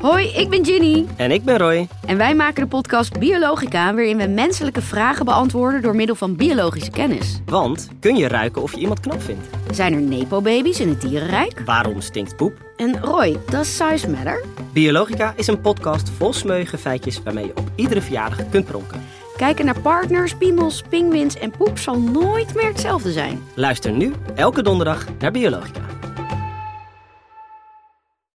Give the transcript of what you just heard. Hoi, ik ben Ginny En ik ben Roy. en wij maken de podcast Biologica, waarin we menselijke vragen beantwoorden door middel van biologische kennis. Want kun je ruiken of je iemand knap vindt? Zijn er nepo-baby's in het dierenrijk? Waarom stinkt poep? En Roy, does size matter? Biologica is een podcast vol smeuïge feitjes waarmee je op iedere verjaardag kunt pronken. Kijken naar partners, piemels, pinguïns en poep zal nooit meer hetzelfde zijn. Luister nu elke donderdag naar Biologica.